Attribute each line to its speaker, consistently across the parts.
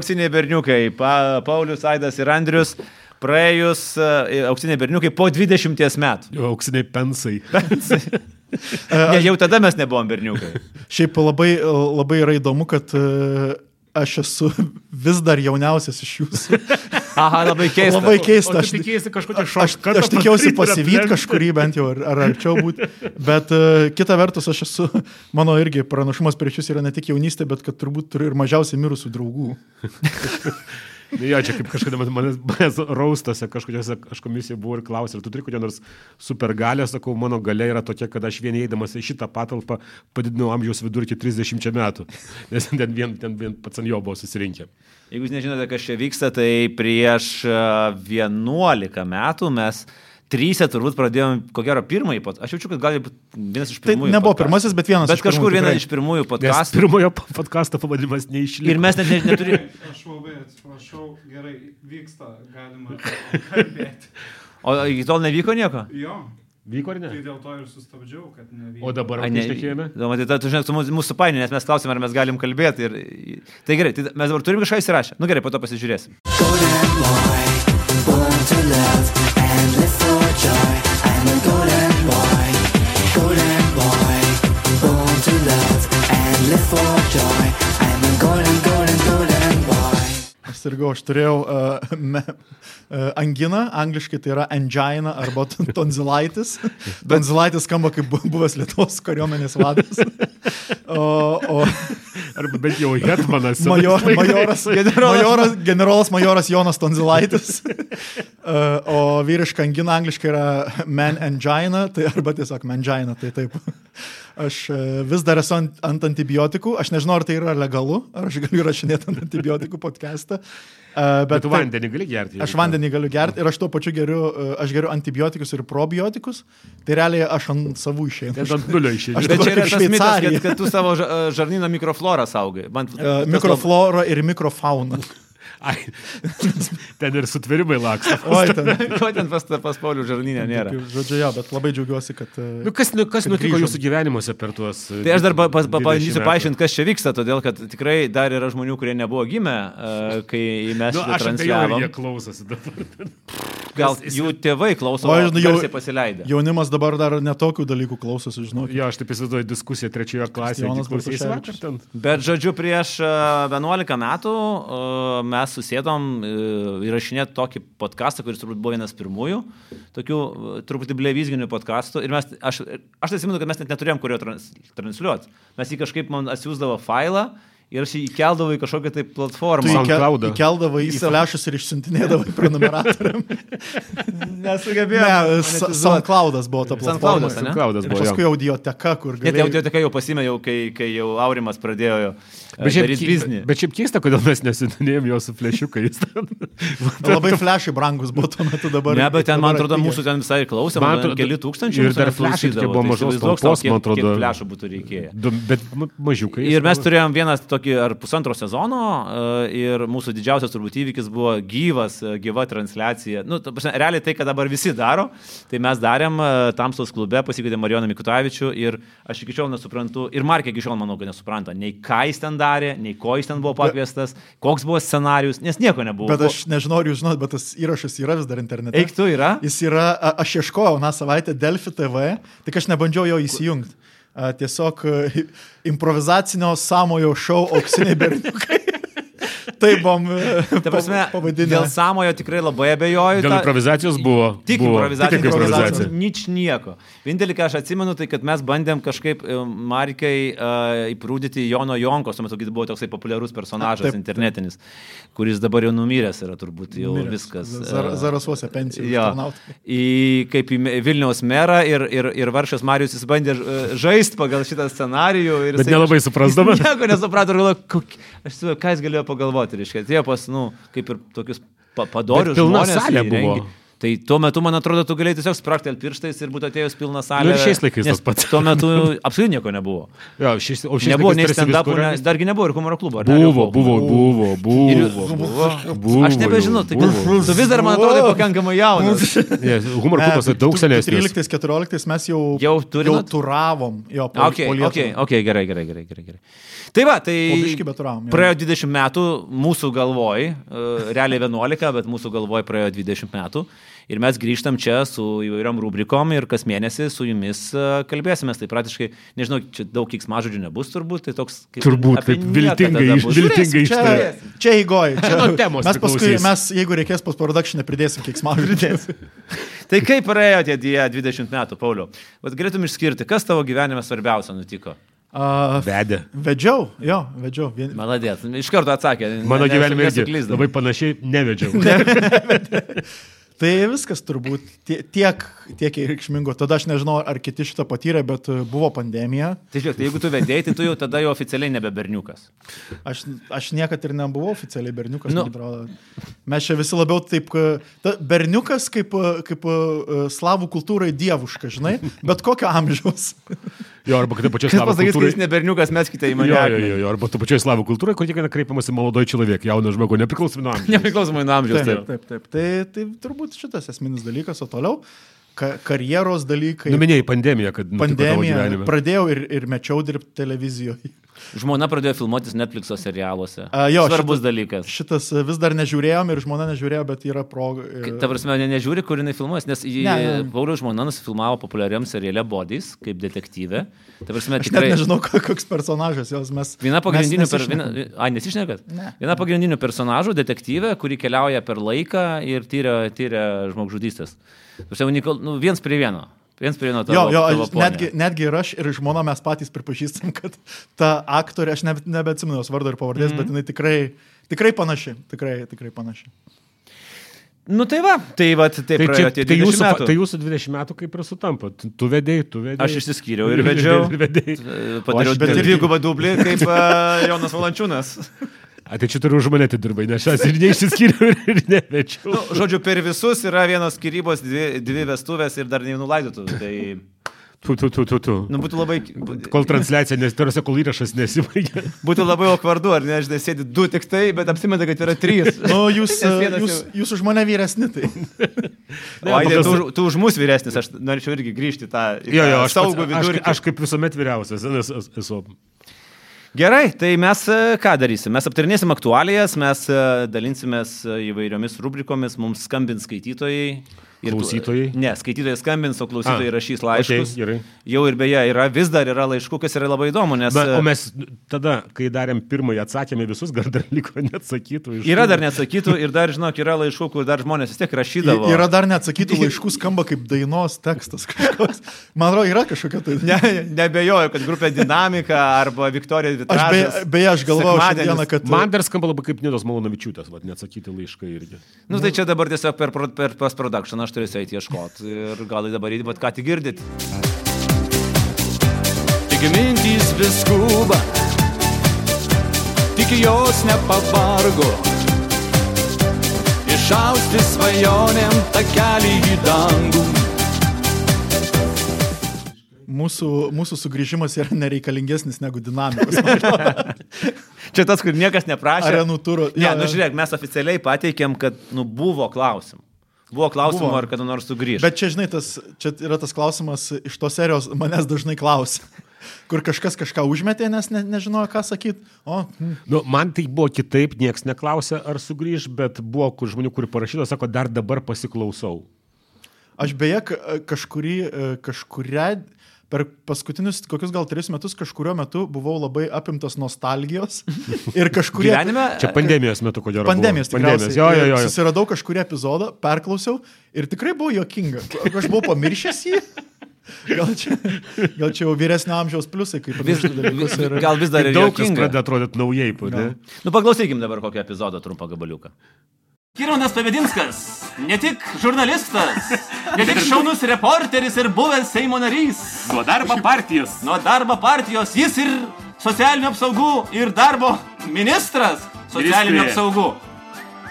Speaker 1: Auksiniai berniukai, pa, Paulius, Aidas ir Andrius, praėjus e, auksiniai berniukai po 20 metų.
Speaker 2: Auksiniai pensai.
Speaker 3: Tai E,
Speaker 1: Ne, jau tada mes nebuvom berniukai.
Speaker 3: Šiaip labai, e, labai yra įdomu, kad e, aš esu vis dar jauniausias iš jūsų.
Speaker 1: Aha, labai keista.
Speaker 3: Labai
Speaker 2: O tai
Speaker 3: keista.
Speaker 2: tu tikėjaisi kažkokio
Speaker 3: aš,
Speaker 2: šošo.
Speaker 3: aš tikėjausi pasivyti kažkurį bent jau, ar, ar arčiau būti. Bet uh, kita vertus, aš esu, mano irgi pranašumas prieš jūs yra ne tik jaunystė, bet kad turbūt turiu ir mažiausiai mirusių draugų.
Speaker 2: Nu Jo, čia kaip kažkada man- manęs, manęs raustose kažkokiuose aš komisijoje buvau ir klausė, ar tu turi kokią nors supergalę, sakau, mano galia yra tokia, kad aš vien eidamas į šitą patalpą padidinau amžiaus vidurkį 30 metų, nes ten vien, ten vien pats ant jo buvo susirinkę.
Speaker 1: Jeigu jūs nežinote, kas čia vyksta, tai prieš a, 11 metų mes trysia turbūt pradėjome, ko gero, pirmąjį pat. Aš jaučiu, kad gali būti vienas iš
Speaker 3: Tai
Speaker 1: pirmųjų.
Speaker 3: nebuvo
Speaker 1: podcastų.
Speaker 3: pirmasis, bet vienas
Speaker 1: Bet
Speaker 3: iš pirmųjų,
Speaker 1: kažkur vienas
Speaker 3: tikrai.
Speaker 1: iš pirmųjų
Speaker 2: Nes
Speaker 1: podkastų.
Speaker 2: pirmojo po- podkasto pavadinimas neišliko.
Speaker 1: Ir mes net ne- neturėjome.
Speaker 4: Aš labai atsiprašau, gerai, vyksta, galima kalbėti.
Speaker 1: O iki tol nevyko nieko?
Speaker 4: Jo,
Speaker 2: Vyko ar ne?
Speaker 4: tai dėl to ir sustabdžiau, kad nevyko.
Speaker 2: O dabar
Speaker 1: Ai,
Speaker 2: ar neištikėjome?
Speaker 1: Na, matai, ta- tu žinai, tu mus- mūsų painė, nes mes klausim, ar mes galim kalbėti. Ir... Tai gerai, tai mes dabar turim kažką įsirašę. Nu gerai, po to pasižiūrėsim.
Speaker 5: Golden boy, born to love and live for joy. I'm a golden boy, golden boy, born to love and live for joy. I'm a golden, golden, golden boy.
Speaker 3: Aš sirgau, aš turėjau uh, me, uh, anginą, angliškai tai yra angina arba ton- tonzilaitis. Tonzilaitis skamba kaip bu- buvęs Lietuvos kariuomenės vadas. O, o
Speaker 2: Arba bent jau Hetmanas.
Speaker 3: Major,
Speaker 2: senais laikais.
Speaker 3: majoras, majoras, generolas majoras Jonas Tonzilaitis. Uh, O vyriška angina angliškai yra man angina, tai arba tiesiog mangina, tai taip. Aš uh, vis dar esu ant, ant antibiotikų, aš nežinau, ar tai yra legalu, ar aš galiu įrašinėti ant antibiotikų podcastą. Uh,
Speaker 2: Bet
Speaker 3: Bet,
Speaker 2: tu
Speaker 3: taip,
Speaker 2: vandenį gali gerti.
Speaker 3: Aš
Speaker 2: jeigu-
Speaker 3: vandenį galiu gerti ir aš tuo pačiu geriu, uh, aš geriu antibiotikus ir probiotikus, tai realiai aš ant savų Uh,
Speaker 2: Ten
Speaker 3: išėjau.
Speaker 2: ant nulio išėjai.
Speaker 3: Aš
Speaker 1: Bet
Speaker 3: dabar
Speaker 1: čia yra
Speaker 3: kaip
Speaker 1: tas mitas, kad,
Speaker 3: Šveicarija. E,
Speaker 1: kad tu savo ža- e, žarnyno mikroflorą saugai. Man tas labai-
Speaker 3: Mikroflora ir mikrofauna.
Speaker 2: Ai, ten ir sutvirimai laksto.
Speaker 3: Oi, ten.
Speaker 1: Ko ten pas, pas Paulių žarnynę nėra?
Speaker 3: Taip, Žodžiu, jo, bet labai džiaugiuosi, kad... e,
Speaker 2: Nu, kas nu, kas
Speaker 3: Kad
Speaker 2: nutiko
Speaker 3: grįžom.
Speaker 2: jūsų gyvenimuose per tuos... e,
Speaker 1: Tai aš dar pa- pa- pa-
Speaker 2: 20
Speaker 1: pabandysiu
Speaker 2: metų?
Speaker 1: paaiškinti, kas čia vyksta, todėl kad tikrai dar yra žmonių, kurie nebuvo gimę, e, kai mes
Speaker 2: Nu,
Speaker 1: šitą
Speaker 2: aš abejoju, ar
Speaker 1: transliavom.
Speaker 2: jie klausosi dabar.
Speaker 1: Gal jų tėvai klauso, o
Speaker 3: O, aš
Speaker 1: aš
Speaker 3: žinau, jau-
Speaker 1: jau pasileidė.
Speaker 3: Jaunimas dabar dar netokių dalykų klausosi, žinau.
Speaker 2: Jo, aš taip įsivaizduoju diskusiją trečioje klasėje.
Speaker 3: Kristijonas
Speaker 2: Klausysi vakar
Speaker 3: Bartuševičius.
Speaker 2: ten.
Speaker 1: Bet žodžiu, prieš a, 11 metų a, mes susėdom e, įrašinėti tokį podcastą, kuris turbūt buvo vienas pirmųjų, tokių e, truputį blevizginių podcastų. Ir mes, aš, aš tai atsimenu, kad mes net neturėjom kurio trans, transliuoti. Mes jį kažkaip man atsiųsdavo failą ir aš jį įkeldavau į kažkokią tai
Speaker 3: Tu
Speaker 1: platformą.
Speaker 3: įke,
Speaker 2: SoundCloudą.
Speaker 3: įkeldavai į flešus ir išsiuntinėdavai prenumeratoriam.
Speaker 1: Nesugebėjau.
Speaker 3: Ne, SoundCloudas buvo ta platforma.
Speaker 1: SoundCloudas, ane?
Speaker 2: Klaudas
Speaker 3: Ir
Speaker 2: buvo.
Speaker 3: paskui
Speaker 2: jo.
Speaker 3: audioteka, kur
Speaker 1: Net jau, jau,
Speaker 3: galėjai...
Speaker 1: jau pasimėjau, kai, kai jau Aurimas pradėjo
Speaker 2: Bet šiaip,
Speaker 1: daryti e, biznį.
Speaker 2: kei- bet šiaip keista, kodėl mes nesintinėjom jo su flešiukais. ten.
Speaker 3: Labai flešai brangus buvo tuo metu dabar.
Speaker 1: Ne, bet ten, man atrodo,
Speaker 3: dabar
Speaker 1: mūsų ten visai klausė,
Speaker 2: Man
Speaker 1: man atrodo,
Speaker 2: atrodo,
Speaker 1: keli tūkstančiai.
Speaker 2: ir dar flešai tokie
Speaker 1: tai
Speaker 2: buvo mažos talpos, man atrodo.
Speaker 1: Flešų būtų reikėję.
Speaker 2: Du- Bet ma- mažiukai.
Speaker 1: Ir mes turėjom vieną tokį ar pusantro sezono e, ir mūsų didžiausias turbūt įvykis buvo gyvas, e, gyva transliacija. Nu, ta prasme, realiai tai, ką dabar visi daro, tai mes darėm e, Tamsos klube, pasikvietėm Marijoną Mikutavičių ir aš iki šiol nesuprantu, ir Markė iki šiol manau, kad nesupranta, nei ką jis ten darė, nei ko jis ten buvo pakviestas, koks buvo scenarius, nes nieko nebuvo.
Speaker 3: Bet aš nežinau, ar jūs žinot, bet tas įrašas yra vis dar internete.
Speaker 1: Eik tu yra.
Speaker 3: Jis yra, a- aš ieškojau na savaitę Delfi TV, tik aš nebandžiau jo įsijungti. A, Tiesiog a, improvizacinio samojo šou auksiniai berniukai. Tai buvom
Speaker 1: Ta prasme, dėl
Speaker 3: pavadinę.
Speaker 1: samojo tikrai labai abejoju.
Speaker 2: Dėl
Speaker 1: Ta-
Speaker 2: improvizacijos buvo.
Speaker 1: Tik
Speaker 2: buvo.
Speaker 1: improvizacija.
Speaker 2: Tik improvizacija.
Speaker 1: Nič nieko. Vienintelį, ką aš atsimenu, tai kad mes bandėm kažkaip e, Markiai uh, įprūdyti Jono Jonkos, tuo metu kai buvo toksai populiarus personažas
Speaker 3: Taip,
Speaker 1: taip,
Speaker 3: taip.
Speaker 1: internetinis, taip. kuris dabar jau numiręs yra turbūt jau numiręs. viskas.
Speaker 3: Zar,
Speaker 1: e,
Speaker 3: zarasuose pensijų.
Speaker 1: Jo,
Speaker 3: užtarnaut.
Speaker 1: į, kaip į Me- Vilniaus merą ir, ir, ir Varšas Marijus jis bandė žaisti e, pagal šitą scenarijų. ir
Speaker 2: Bet
Speaker 1: jisai
Speaker 2: nelabai
Speaker 1: kaž-
Speaker 2: suprasdamas.
Speaker 1: Jis Nieko nesuprato, ir galvoju, kokie- aš įsivaizduoju, ką jis galėjo pagalvoti. Reiškia, atėjo pas, nu, kaip ir tokius pa, padorius
Speaker 2: Bet pilna
Speaker 1: žmonės.
Speaker 2: salė
Speaker 1: į rengi-
Speaker 2: buvo.
Speaker 1: Tai tuo metu, man atrodo, tu galėjai tiesiog spraktelti pirštais ir būtų atėjus pilna salė.
Speaker 2: Nu ir šiais laikais
Speaker 1: nes
Speaker 2: tas pats.
Speaker 1: Tuo metu absoliučiai nieko nebuvo.
Speaker 2: Jo, šis, o šis
Speaker 1: nebuvo
Speaker 2: laikais
Speaker 1: nei
Speaker 2: tarsi
Speaker 1: stand-upų,
Speaker 2: viskur-
Speaker 1: ne, dargi nebuvo ir humoro klubo. ar ne?
Speaker 2: Buvo, buvo, buvo,
Speaker 1: Ir-
Speaker 2: buvo. buvo,
Speaker 1: Aš nebežinau, tai
Speaker 2: buvo.
Speaker 1: tu vis dar man atrodo pakankamai jaunas.
Speaker 2: Ne,
Speaker 3: E,
Speaker 2: Humor klubas tai daug senesnis.
Speaker 3: 13-14 mes jau,
Speaker 1: Jau turinot?
Speaker 3: jau turavom. Jo, po,
Speaker 1: Ok,
Speaker 3: po
Speaker 1: ok,
Speaker 3: Lietuvą.
Speaker 1: ok, gerai, gerai, gerai, gerai. gerai. Tai va, tai...
Speaker 3: Po biškį, bet turavom, jo.
Speaker 1: Praėjo 20 metų mūsų galvoj, e, realiai 11, bet mūsų galvoj praėjo 20 metų. Ir mes grįžtam čia su įvairiom rubrikom ir kas mėnesį su jumis e, kalbėsime. Tai praktiškai, nežinau, čia daug kiksmažodžių nebus turbūt, tai toks... Kaip,
Speaker 2: Turbūt,
Speaker 1: apie
Speaker 2: kaip
Speaker 1: nieką
Speaker 2: viltingai
Speaker 1: tada
Speaker 2: iš-
Speaker 1: bus.
Speaker 2: viltingai
Speaker 1: Žiūrėsim,
Speaker 2: iš-
Speaker 1: čia-
Speaker 2: Žiūrėsim.
Speaker 3: Čia įgoj. Čia
Speaker 2: Nuo Nu, temos
Speaker 3: mes paskui,
Speaker 2: priklausys.
Speaker 3: mes, jeigu reikės, postprodukšinę pridėsim kiek smagu.
Speaker 1: Tai kaip praėjo tie die 20 metų, Pauliau? Bet galėtum išskirti, kas tavo gyvenime svarbiausia nutiko?
Speaker 3: Uh,
Speaker 2: Vedė.
Speaker 3: vedžiau, jo, vedžiau. Vien...
Speaker 1: Maladėt, iš karto atsakė. ne-
Speaker 2: Mano
Speaker 1: ne-
Speaker 2: gyvenime irgi
Speaker 1: nesuklysdavai.
Speaker 2: labai panašiai nevedžiau.
Speaker 3: Tai viskas turbūt tie- tiek, tiek ir reikšmingo. Tada aš nežinau, ar kiti šitą patyrė, bet uh, buvo pandemija.
Speaker 1: Tai žiūrėk, tai jeigu tu vedėjai, tai tu jau tada jau oficialiai nebe berniukas.
Speaker 3: Aš, aš niekad ir nebuvau oficialiai berniukas,
Speaker 1: Nu.
Speaker 3: nu. man atrodo. Mes čia visi labiau taip, ka- ta, berniukas kaip, uh, kaip uh, slavų kultūrai dievuška, žinai, bet kokio amžiaus.
Speaker 2: Jo, arba kad pačios
Speaker 1: Kas
Speaker 2: slavų
Speaker 1: pasakys, kad
Speaker 2: kultūrai.
Speaker 1: jis ne berniukas, mes kitai
Speaker 2: Jo,
Speaker 1: mane.
Speaker 2: jo, jo, jo, arba to pačioje slavų kultūroje, kur kiekvieną kreipiamasi malodoj človek, jauną žmogų, nepriklausomai nuo amžiaus.
Speaker 1: Nepriklausomai nuo amžiaus.
Speaker 3: Taip,
Speaker 1: Taip.
Speaker 3: taip, taip. Tai, tai turbūt šitas esminis dalykas, o toliau ka, karjeros dalykai.
Speaker 2: Numinėjai Nu, pandemiją, kad nutiko tavo
Speaker 3: Pandemija.
Speaker 2: gyvenime.
Speaker 3: Pradėjau ir, ir mečiau dirbti televizijoje.
Speaker 1: Žmona pradėjo filmuotis Netflix'o serialuose.
Speaker 3: A, jo,
Speaker 1: Svarbus dalykas.
Speaker 3: Šitas e, vis dar nežiūrėjom ir žmona nežiūrėjo, bet yra proga. e,
Speaker 1: Ta prasme, ne, nežiūri, kur jinai filmuojas, nes jį, ne,
Speaker 3: Ne, ne,
Speaker 1: ne.
Speaker 3: ne.
Speaker 1: Paulius žmona nusifilmavo populiariam seriale Bodys, kaip detektyvė. Ta prasme,
Speaker 3: Aš net
Speaker 1: tikrai...
Speaker 3: nežinau, ko- koks personažas jos mes.
Speaker 1: Viena pagrindinių,
Speaker 3: mes
Speaker 1: per, viena,
Speaker 3: nesišnekam.
Speaker 1: ai, nesišnekat?
Speaker 3: Ne.
Speaker 1: Viena pagrindinių personažų, detektyvė, kuri keliauja per laiką ir tyria, tyria žmogžudystės. Prasme, unikal, nu, viens prie vieno. Viens prie vieno. Tavo,
Speaker 3: Jo, jo,
Speaker 1: tavo
Speaker 3: aš-
Speaker 1: ponia.
Speaker 3: netgi, netgi ir aš, ir žmona mes patys pripažįstam, kad ta aktorė, aš ne, nebeatsimenu jos vardo ir pavardės, mm -hmm.
Speaker 1: Mhm.
Speaker 3: bet jinai tikrai, tikrai panaši. Tikrai, tikrai panaši.
Speaker 1: Nu tai va, tai va, tai
Speaker 2: Tai,
Speaker 1: praėjo
Speaker 2: čia,
Speaker 1: tie
Speaker 2: tai,
Speaker 1: 20
Speaker 2: jūsų,
Speaker 1: metų.
Speaker 2: tai jūsų 20 metų kaip ir sutampa. Tu- Tu vedėjai, tu vedėjai.
Speaker 1: Aš išsiskyriau ir vedžiau.
Speaker 2: Ir vedėjai.
Speaker 1: E,
Speaker 2: O
Speaker 1: Padariau
Speaker 2: aš
Speaker 3: bet irgi-
Speaker 1: dvigubą dublį, kaip uh, Jonas Valančiūnas.
Speaker 2: A, tai čia turiu už mane atidirbai, nes aš ir neišsiskyriau, ir- ir nevedžiau.
Speaker 1: Nu, žodžiu, per visus yra vienos skirybos, dvi, dvi vestuvės ir dar neįnulaidotuvų. Tai
Speaker 2: Tu, tu, tu, tu, tu.
Speaker 1: nu, būtų labai...
Speaker 2: Kol transliacija, nes tarsi kol įrašas nesibaigė.
Speaker 1: Būtų labai okvardu, ar ne, aš nesėdi du tik tai, bet apsimeta, kad yra trys.
Speaker 3: Nu, jūs,
Speaker 1: Nes
Speaker 3: e,
Speaker 1: vienas
Speaker 3: jūs, jūs už mane vyresni, tai
Speaker 1: O, Aidė,
Speaker 2: paprastai-
Speaker 1: tu, už- tu už mus vyresnis, aš norėčiau irgi grįžti į tą, į
Speaker 2: Jo,
Speaker 1: tą
Speaker 2: jo, aš, pats,
Speaker 1: saugų
Speaker 2: aš,
Speaker 1: vidurkį.
Speaker 2: aš kaip visuomet vyriausias nes es- esu.
Speaker 1: Gerai, tai mes e, ką darysim? Mes aptarinėsim aktualijas, mes e, dalinsimės e, įvairiomis rubrikomis, mums skambins skaitytojai. ir-
Speaker 2: Klausytojai?
Speaker 1: Ne, skaitytojai skambins, o klausytojai
Speaker 2: A,
Speaker 1: rašys laiškus.
Speaker 2: okei, gerai.
Speaker 1: Jau ir beje, yra, vis dar yra laiškų, kas yra labai įdomu, nes...
Speaker 2: Bet,
Speaker 1: e,
Speaker 2: o mes tada, kai darėm pirmąjį, atsakėme visus, gal dar liko neatsakytų. iš
Speaker 1: Yra
Speaker 2: tų.
Speaker 1: dar nesakytų ir dar, žinok, yra laiškų, kur dar žmonės vis tiek rašydavo.
Speaker 3: I, yra dar neatsakytų laiškų, skamba kaip dainos tekstas kažkoks. Man atrodo, yra kažkokia tai.
Speaker 1: Ne, nebejoju, kad grupė Dinamika arba Viktorija
Speaker 3: Aš beje,
Speaker 1: Vitražas.
Speaker 3: beje, aš galvoju
Speaker 1: sekmadienis.
Speaker 3: šiandieną, kad...
Speaker 2: Man dar skamba labai kaip Nidos Malanavičiūtės, vat, neatsakyti laiškai irgi.
Speaker 1: Nu tai čia dabar tiesiog per, pro- per post-production aš turėsiu eiti ieškoti ir gal dabar įdibat, ką tik girdit.
Speaker 6: Tik mintys vis skuba, tik jos nepavargo. Išausti svajonėm takelį į dangų.
Speaker 3: Mūsų, mūsų sugrįžimas yra nereikalingesnis negu dinamikos. Man
Speaker 1: Čia tas, kur niekas neprašė.
Speaker 3: Arenų turo.
Speaker 1: Ne,
Speaker 3: Jo,
Speaker 1: nu
Speaker 3: jo.
Speaker 1: žiūrėk, mes oficialiai pateikėm, kad nu, buvo klausimų. Buvo klausimų,
Speaker 3: Buvo.
Speaker 1: ar kada nors sugrįžti.
Speaker 3: Bet čia, žinai, tas, čia yra tas klausimas iš tos serijos, manęs dažnai klausia, kur kažkas kažką užmetė, nes ne, nežinojo, ką sakyti. O, hm.
Speaker 2: Nu, man tai buvo kitaip, niekas neklausė, ar sugrįž, bet buvo kur žmonių, kurie parašyta, sako, dar dabar pasiklausau.
Speaker 3: aš beje ka- kažkurį, e, kažkurią, per paskutinius kokius gal tris metus kažkurio metu buvau labai apimtas nostalgijos ir kažkurie...
Speaker 1: gyvenime. e,
Speaker 2: Čia pandemijos metu, kodėl?
Speaker 3: Pandemijos,
Speaker 2: pandemijos.
Speaker 3: tikriausiai.
Speaker 2: Jo, jo, jo. jo.
Speaker 3: Susiradau kažkurį epizodą, perklausiau ir tikrai buvo jokinga. Aš buvau pamiršęs jį. Gal čia, gal čia jau vyresnio amžiaus pliusai, kaip
Speaker 1: Vis, gal vis dar yra
Speaker 2: Tai Daug kas
Speaker 1: juokinga.
Speaker 2: pradeda atrodyti naujai, pradė.
Speaker 1: Nu paklausykim dabar kokį epizodą trumpą gabaliuką.
Speaker 7: Kironas Pavedinskas, ne tik žurnalistas, ne tik šaunus reporteris ir buvęs Seimo narys. Nuo darbo partijos. Nuo darbo partijos jis ir socialinių apsaugų ir darbo ministras socialinių
Speaker 8: Ministrė.
Speaker 7: apsaugų.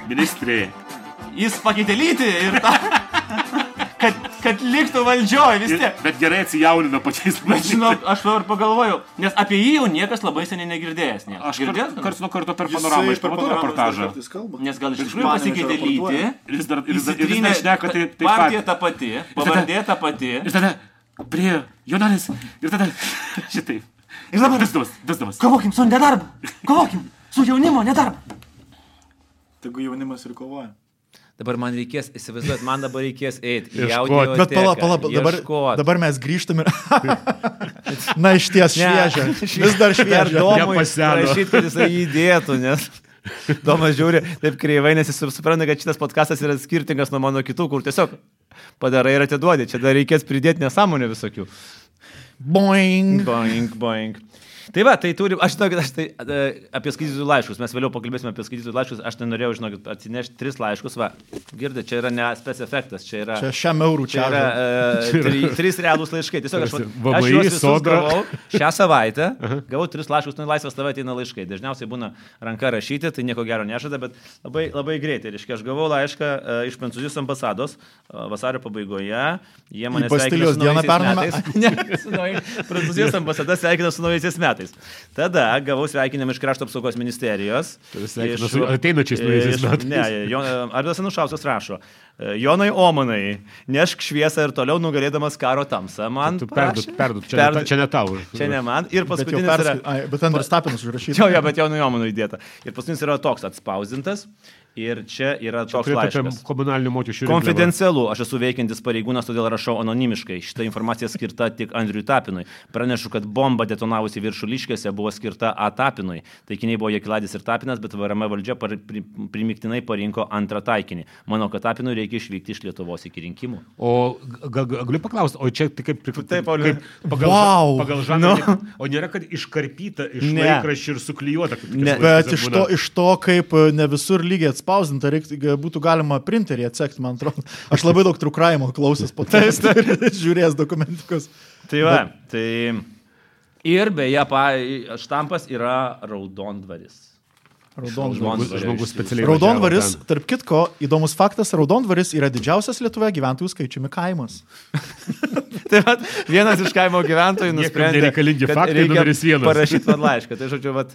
Speaker 8: Ministrė,
Speaker 7: Jis pakeitė lytį ir tą Kad, kad liktų valdžioje vis tiek.
Speaker 8: Bet gerai atsijaunino pačiais metais.
Speaker 7: Žinau, aš dabar pagalvojau, nes apie jį jau niekas labai seniai negirdėjęs. Niekas.
Speaker 8: Aš
Speaker 7: girdėjęs?
Speaker 8: girdėjau karts nuo karto per panoramą iš pamatau reportažą.
Speaker 7: Nes gal iš tikrųjų pasikeitė lytį.
Speaker 8: Ir jis dar, ir jis dar, ir jis
Speaker 7: Įsitrynė-
Speaker 8: dar šneka tai taip
Speaker 7: Partija
Speaker 8: pat.
Speaker 7: ta pati, pavardė ta pati.
Speaker 8: Ir tada prie Jonalis. Ir tada šitaip. Ir dabar visdamas, visdamas.
Speaker 7: Kovokim su nedarbu. Kovokim su jaunimo nedarbu.
Speaker 9: Tegu jaunimas ir kovoja.
Speaker 1: Dabar man reikės, įsivaizduot, man dabar reikės eiti.
Speaker 2: Ieškot.
Speaker 3: Bet pala, pala, dabar, dabar mes grįžtam ir... Na, iš ties šviežia. Vis dar
Speaker 1: Per
Speaker 3: šviežia.
Speaker 1: domą
Speaker 2: Nepaseno.
Speaker 1: rašyti, kad jisai jį įdėtų, nes Domas žiūri taip kreivai, nes jis supranta, kad šitas podcastas yra skirtingas nuo mano kitų, kur tiesiog padarai ir atiduodi. Čia dar reikės pridėti nesąmonę visokių.
Speaker 3: Boing.
Speaker 1: Boing, boing. Tai va, tai turi, aš žinokit, aš tai e, apie skaitytojų laiškus, mes vėliau pakalbėsime apie skaitytojų laiškus, aš nenorėjau, žinokit, atsinešti tris laiškus, va, girdite, čia yra ne spec efektas, čia yra...
Speaker 3: Čia šiam eurų
Speaker 1: Čia
Speaker 3: čia.
Speaker 1: yra e, tri, trys realūs laiškai. Tiesiog aš, vat-
Speaker 2: VMI,
Speaker 1: aš juos visus
Speaker 2: Sodra.
Speaker 1: gavau šią savaitę. Gavau tris laiškus, nu į laisvą stovę ateina laiškai. Dažniausiai būna ranka rašyti, tai nieko gero nežada, bet labai, labai greitai. Reiškia, aš gavau laišką e, iš Prancūzijos ambasados e, vasario pabaigoje. Jie mane
Speaker 3: Bastilijos dieną pernai me-
Speaker 1: pernai. Prancūzijos ambasada sveikina su naujaisiais metais. Tada gavau sveikinimą iš krašto apsaugos ministerijos.
Speaker 2: Tai sveikina
Speaker 1: Iš-
Speaker 2: su ateinačiais naujaisiais
Speaker 1: iš-
Speaker 2: metais.
Speaker 1: Ne, Jo- Arvidas Anušauskas rašo, e, Jonai Omanai, nešk šviesą ir toliau nugalėdamas karo tamsą. Man
Speaker 2: Tu
Speaker 1: parašė.
Speaker 2: perdut, perdut, čia, Perdu... čia ne tau.
Speaker 1: Čia ne man. Ir
Speaker 3: Bet, jau
Speaker 1: paskutinis yra...
Speaker 3: persk... Ai, bet Andrius Tapinas užrašytas.
Speaker 1: Jo, jo, bet Jonui Omanui įdėta. Ir paskutinis yra toks atspausdintas. Ir čia yra toks
Speaker 2: Turėtų apie
Speaker 1: laiškas.
Speaker 2: komunalinių mokesčių. rinkliavą.
Speaker 1: Konfidencialu, aš esu veikiantis pareigūnas, todėl rašau anonimiškai. Šitą informaciją skirta tik Andriui Tapinui. Pranešu, kad bomba detonavusi viršuliškėse buvo skirta A Tapinui. Taikiniai buvo Jekiladis ir Tapinas, bet VRM valdžia par, pri, primiktinai parinko antrą taikinį. Manau, kad Tapinui reikia išvykti iš Lietuvos iki rinkimų.
Speaker 2: O ga- ga- galiu paklausti, o čia tai kaip priklauso?
Speaker 1: Taip, Pauliau.
Speaker 2: pagal,
Speaker 3: Vau.
Speaker 2: pagal žanrą. No. O nėra, kad iškarpyta iš
Speaker 1: Ne.
Speaker 2: laikraščių ir suklyjuota. Kaip
Speaker 1: Ne.
Speaker 3: Bet iš to, iš to, kaip e, ne visur lygiai atspausdinta, reiktų, g- būtų galima printerį atsekti, man atrodo. Aš labai daug trukraimo klausęs po to. Žiūrėjęs dokumentikus.
Speaker 1: Tai va, tai. Ir beje, pa, štampas yra raudondvaris.
Speaker 3: Raudondvaris.
Speaker 2: žmogus, žmogus specialiai.
Speaker 3: Raudondvaris,
Speaker 2: važiavo
Speaker 3: tarp kitko, įdomus faktas, Raudondvaris yra didžiausias Lietuvoje gyventojų skaičiumi kaimas.
Speaker 1: Tai vat, vienas iš kaimo gyventojų
Speaker 2: Niekam
Speaker 1: nusprendė,
Speaker 2: nereikalingi
Speaker 1: kad
Speaker 2: faktai,
Speaker 1: reikia
Speaker 2: numeris vienas.
Speaker 1: Parašyti man laišką. Tai žodžiu, vat,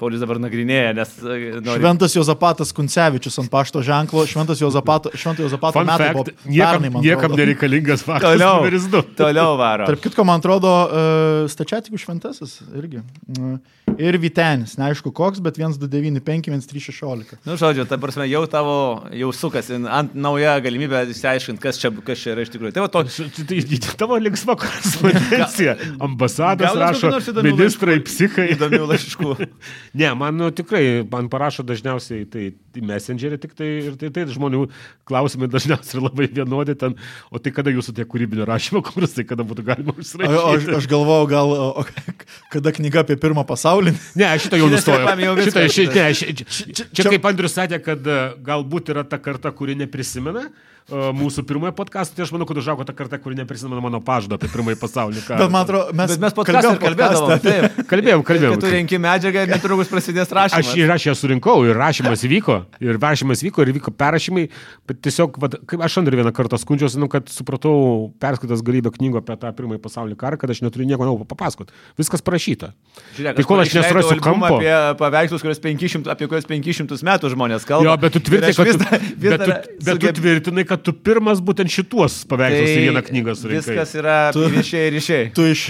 Speaker 1: Paulius dabar nagrinėja, nes e, nori.
Speaker 3: Šventas Jozapatas Kuncevičius ant pašto ženklo, Šventas Jozapato, Švento
Speaker 2: ten.
Speaker 3: Jozapato
Speaker 2: Fun
Speaker 3: metai
Speaker 2: fact,
Speaker 3: buvo
Speaker 2: niekam,
Speaker 3: pernai, man
Speaker 2: niekam
Speaker 3: atrodo.
Speaker 2: nereikalingas faktas. Numeris
Speaker 1: Toliau,
Speaker 2: du.
Speaker 1: toliau varo.
Speaker 3: Tarp kitko, man atrodo, uh, stačiatikų šventasis irgi. Uh, ir Vitenis, neaišku koks, bet 1,295, 1,316.
Speaker 1: Nu, žodžiu, ta prasme, jau tavo, jau sukasi ant nauja galimybė išsiaiškinti, kas čia, kas čia yra iš tikrųjų. Tai va, toks.
Speaker 2: Tai- tai Tavo linksma korespondencija. Ambasados
Speaker 1: Gaunat kokių
Speaker 2: rašo,
Speaker 1: nors įdomių
Speaker 2: ministrai, psichai.
Speaker 1: Įdomių laiškų.
Speaker 2: Ne, man nu, tikrai, man parašo dažniausiai tai į messengerį tik tai ir tai, tai žmonių klausimai dažniausiai yra labai vienodi ten, o tai kada jūsų tie kūrybinio rašymo kursai, tai kada būtų galima
Speaker 3: O, o, aš,
Speaker 2: užsirašyti?
Speaker 3: aš galvojau, gal o, o, kada knyga apie pirmą pasaulinį.
Speaker 2: Ne, aš šitą jau
Speaker 1: Šitas
Speaker 2: nustojau.
Speaker 1: yra pamėjau
Speaker 2: Šitą,
Speaker 1: viską.
Speaker 2: ši, ne, ši, čia, čia, čia
Speaker 3: čia-
Speaker 2: kaip Andrius sakė, kad e, galbūt yra ta karta, kuri neprisimena e, mūsų pirmojo podcast'o, tai aš manau, kad užaugo ta karta, kuri neprisimena mano pažado apie pirmąjį pasaulį.
Speaker 3: Bet man atrodo, mes,
Speaker 1: Bet mes podcast'ą ir kalbėdavom.
Speaker 3: podcast'ą.
Speaker 1: Taip.
Speaker 2: Kalbėjom, kalbėjom.
Speaker 1: Kad tu renki medžiagą ir netrukus prasidės rašymas.
Speaker 2: Aš ir aš ją surinkau, ir rašymas vyko, ir rašymas vyko, ir vyko perrašymai, bet tiesiog, vat, kaip aš Andriu vieną kartą skundžiausi, nu, kad supratau, perskaitęs galybę knygų apie tą pirmąjį pasaulinį karą, kad aš neturiu nieko naujo papasakot. Viskas parašyta.
Speaker 1: Žiūrėk,
Speaker 2: tai kol aš
Speaker 1: išleidau
Speaker 2: nesurasiu
Speaker 1: albumą
Speaker 2: kampo.
Speaker 1: Apie paveikslus, kuriuos 500, apie kuriuos 500 metų žmonės kalba.
Speaker 2: Jo, bet tu
Speaker 1: Ir
Speaker 2: tvirtinai,
Speaker 1: aš
Speaker 2: kad,
Speaker 1: vis
Speaker 2: tu,
Speaker 1: dar- vis
Speaker 2: bet,
Speaker 1: dar
Speaker 2: tu, bet tu
Speaker 1: sugeb-
Speaker 2: tvirtinai, kad tu pirmas būtent šituos paveikslus į vieną knygą surinkai.
Speaker 1: Tai Viskas yra ryšiai ir ryšiai.
Speaker 3: Tu, iš,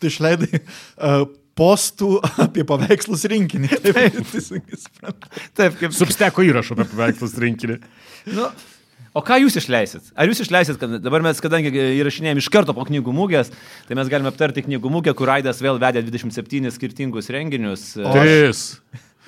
Speaker 3: tu išleidai uh, postų apie paveikslus rinkinį. Taip, tai suprantu.
Speaker 1: Taip, kaip.
Speaker 2: Substeko įrašo apie paveikslus rinkinį.
Speaker 1: Nu, o ką jūs išleisit? Ar jūs išleisit, kad dabar mes, kadangi įrašinėjom iš karto po knygų mūgės, tai mes galime aptarti knygų mūgę, kur Aidas vėl vedė 27 skirtingus renginius.
Speaker 3: aš-
Speaker 2: Tris.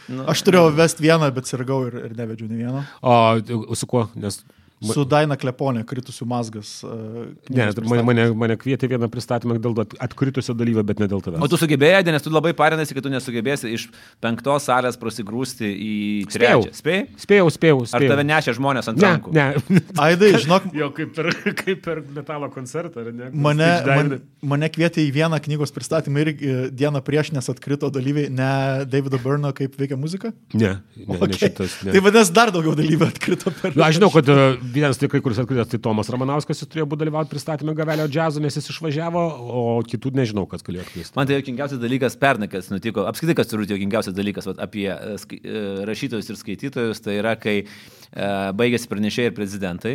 Speaker 2: Nu.
Speaker 3: Aš turėjau vest vieną, bet sirgau ir, ir nevedžiau nei vieno.
Speaker 2: O su kuo? Nes Ma-
Speaker 3: Su Daina Kleponė, kritusių mazgas. Uh,
Speaker 2: Ne, mane, mane, mane kvietė vieną pristatymą dėl at- atkritusio dalyvio, bet ne dėl tavęs.
Speaker 1: O tu sugebėjai, Aidai, nes tu labai parinasi, kad tu nesugebėsi iš penktos salės prasigrūsti į
Speaker 2: Spėjau.
Speaker 1: trečią. Spėjai?
Speaker 2: Spėjau, spėjau. spėjau.
Speaker 1: Ar tave nešė žmonės ant
Speaker 2: Ne,
Speaker 1: rankų?
Speaker 2: ne.
Speaker 3: Aidai, žinok,
Speaker 2: Jo, kaip per, kaip per metalo koncertą, ar ne? Kur
Speaker 3: Mane, man,
Speaker 2: stage dive-
Speaker 3: mane kvietė į vieną knygos pristatymą ir e, dieną prieš, nes atkrito dalyviai ne Davido Burno, kaip veikia muzika.
Speaker 2: Ne, ne, okay. ne šitas. Ne.
Speaker 3: Tai vadinasi, dar daugiau dalyvių atkrito per.
Speaker 2: Na, aš žinau, kad e, vienas tikrai, kuris atkritęs, tai Tomas Ramanauskas, jis turėjo būti dalyvauti pristatymę gavelio džiazo, nes jis išvažiavo, o kitų nežinau, kas galėjo atkristi.
Speaker 1: Man tai jokingiausias dalykas pernai, kas nutiko, apskritai, kas turbūt jokingiausias dalykas vat, apie e, skai- e, rašytojus ir skaitytojus, tai yra, kai e, baigėsi pranešėjai ir prezidentai.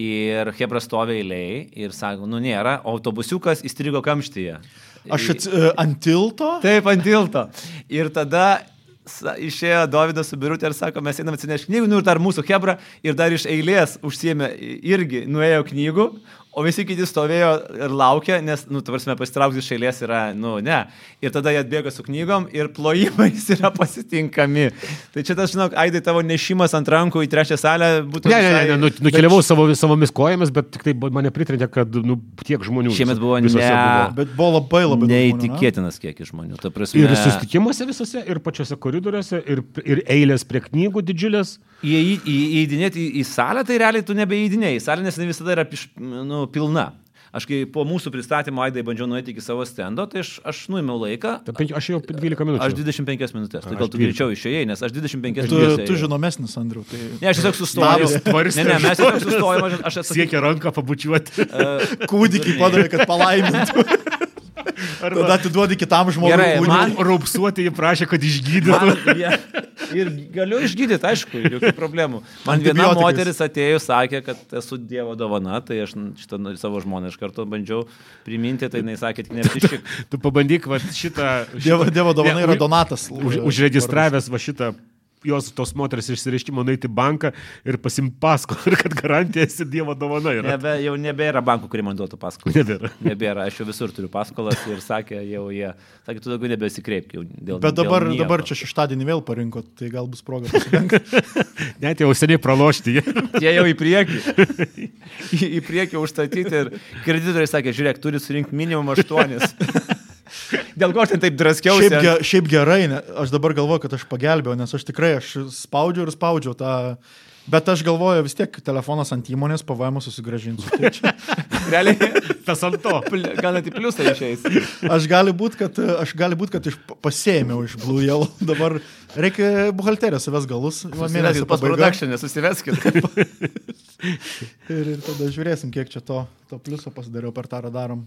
Speaker 1: Ir Hebra stovi eiliai ir sako, nu nėra, o autobusiukas įstrigo kamštyje.
Speaker 3: Aš ats, e, ant tilto.
Speaker 1: Taip, ant tilto. Ir tada sa- išėjo Davidas su biurutė ir sako, mes einam atsinešti knygų, nu ir dar mūsų Hebra, ir dar iš eilės užsiemė i- irgi, nuėjo knygų, o visi kiti stovėjo ir laukė, nes, nu, tavarsime, pasitraukti iš eilės yra, nu, ne. Ir tada jie atbėga su knygom ir plojimais yra pasitinkami. Tai čia tas, žinok, Aidai tavo nešimas ant rankų į trečią salę būtų...
Speaker 2: Ne, ne, ne,
Speaker 1: visai-
Speaker 2: ne nu, nukeliavau savo, savomis kojomis, bet tik tai mane pritrintė, kad nu, tiek žmonių.
Speaker 1: Šiemet buvo
Speaker 2: visose
Speaker 1: ne-
Speaker 2: buvo.
Speaker 3: Bet buvo labai labai daug žmonių, ne?
Speaker 1: Neįtikėtinas kiekis žmonių. Ta prasme,
Speaker 2: Ir susitikimuose visose, ir pačiuose koridoriuose, ir, ir eilės prie knygų didžiulės.
Speaker 1: Įei- į- Įeidinėti į, į salę, tai realiai tu nebeįdinėjai. Į salę, nes jinai visada yra piš, nu, pilna. Aš kai po mūsų pristatymo Aidai bandžiau nueiti iki savo stendo, tai aš, aš nuėmiau laiką.
Speaker 2: Ta penki- Aš jau 12 minučių.
Speaker 1: Aš 25 minutės. Tai
Speaker 2: Aš
Speaker 1: gal tu
Speaker 2: 12.
Speaker 1: greičiau išėjai, nes aš 25
Speaker 3: Tu,
Speaker 1: minutės.
Speaker 3: tu žinomesnis, Andriu. Tai...
Speaker 1: Ne, aš tiesiog sustojau.
Speaker 3: Davis
Speaker 1: Ne, ne, mes tiesiog sustojom, aš, aš atsakiau.
Speaker 2: Siekia ranką pabučiuoti.
Speaker 3: Kūdikį padavė, kad palaimintų. Tada tu duodi kitam žmogui.
Speaker 1: Gerai,
Speaker 3: kūdikį.
Speaker 1: man-
Speaker 2: Raupsuoti jį prašė, kad išgydytų.
Speaker 1: Man, ja, ir galiu išgydyti, aišku, jokių problemų. Man viena
Speaker 3: Antibiotikais.
Speaker 1: moteris atėjo, sakė, kad esu Dievo dovana, tai aš šitą nu, savo žmoną iš karto bandžiau priminti, tai jinai sakė, tik neapsišyk.
Speaker 2: Tu pabandyk vat, šitą...
Speaker 3: Dievo, dievo dovana
Speaker 2: Ne,
Speaker 3: yra
Speaker 2: u-
Speaker 3: Donatas.
Speaker 2: Už, užregistravęs va šitą jos tos moters išsireiškimą nueiti į banką ir pasimpasko, kad garantija esi Dievo dovana yra.
Speaker 1: Nebe, jau nebėra bankų, kurie man duotų paskolą.
Speaker 2: Nebėra.
Speaker 1: Nebėra, aš jau visur turiu paskolas ir sakė, jau jie, sakė, tu daugiau nebesikreipk jau dėl
Speaker 3: Bet dabar,
Speaker 1: dėl nieko.
Speaker 3: dabar čia šeštadienį vėl parinkot, tai gal bus proga. pasidengt.
Speaker 2: Net jau seniai pralošti. jie.
Speaker 1: Jie jau į priekį. į, į priekį užstatyti ir kreditoriai sakė, žiūrėk, turi surinkti minimum aštuonis. dėl ko aš ten taip draskiausi?
Speaker 3: Šiaip, ge, šiaip gerai, ne, aš dabar galvoju, kad aš pagelbėjau, nes aš tikrai aš spaudžiu ir spaudžiu tą... Bet aš galvoju, vis tiek telefonas ant įmonės pavajamą susigražinsiu. Tai čia-
Speaker 1: Realiai,
Speaker 2: Tas ant to.
Speaker 1: pl- gal net į pliusą išeis.
Speaker 3: Aš gali būti, kad, e, aš gali būt, kad iš, pasėmiau iš Blue Yellow. Dabar reikia buhalterijos savęs galus. va,
Speaker 1: Mėnesį
Speaker 3: Mėnesio pabaiga.
Speaker 1: postprodukcinė, susiveskit.
Speaker 3: Ir, ir tada žiūrėsim, kiek čia to, to pliuso pasidariau per tą radarom.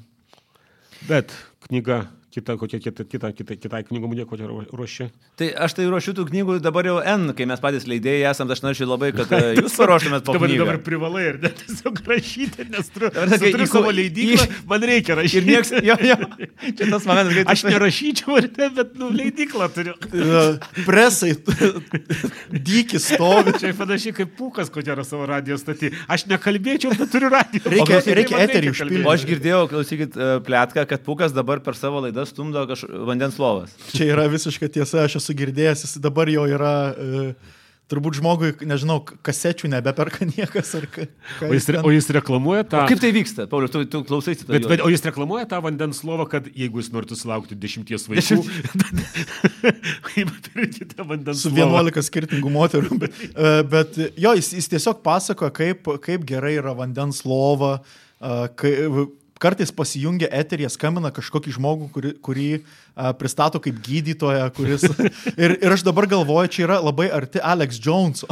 Speaker 2: Bet knyga, kita, kokia kita, kita, kita, kitai knygom nieko čia ruo- ruoši.
Speaker 1: tai aš tai ruošiu tų knygų dabar jau N, kai mes patys leidėjai esam, aš norėčiau labai, kad e, jūs paruoštumėt po
Speaker 2: Dabar,
Speaker 1: knygą.
Speaker 2: dabar privalai ir net tiesiog rašyti, nes turiu,
Speaker 1: Dabar sakai,
Speaker 2: su- turiu
Speaker 1: į ko-
Speaker 2: savo leidyklą,
Speaker 1: į-
Speaker 2: man reikia rašyti.
Speaker 1: Ir nieks, jo, jo. Čia tas momentas, kai tu
Speaker 2: Aš nerašyčiau, ar ne, bet nu, leidyklą turiu.
Speaker 3: E, Presai, dykis stovi.
Speaker 2: Čia panašiai kaip pukas, ko gero savo radijos statį. Aš nekalbėčiau, bet turiu radiją.
Speaker 3: Reikia- reikia eterį užpildyti.
Speaker 1: O aš girdėjau, klausykit, e, plėtką, kad Pukas dabar per savo laidą stumdo kaž... vandens lovas.
Speaker 3: Čia yra visiškai tiesa, aš esu girdėjęs, jis dabar jau yra, e, turbūt žmogui, nežinau, k- kasečių nebeperka niekas ar ką. ką
Speaker 2: O jis, re-
Speaker 3: ten-
Speaker 2: o jis reklamuoja tą...
Speaker 1: Kaip tai vyksta, Paulius, tu, tu klausai to.
Speaker 2: Bet, bet, o jis reklamuoja tą vandens lovą, kad jeigu jūs norite sulaukti dešimties vaikų, pirkite vandens
Speaker 3: su
Speaker 2: lovą.
Speaker 3: 11 skirtingų moterų. Bet, e, bet e, jo, jis, jis tiesiog pasako, kaip, kaip gerai yra vandens lova. e, Kai, v- kartais pasijungia eterį, skambina kažkokį žmogų, kurį, kurį a, pristato kaip gydytoją, kuris... Ir, ir aš dabar galvoju, čia yra labai arti Alex Jones.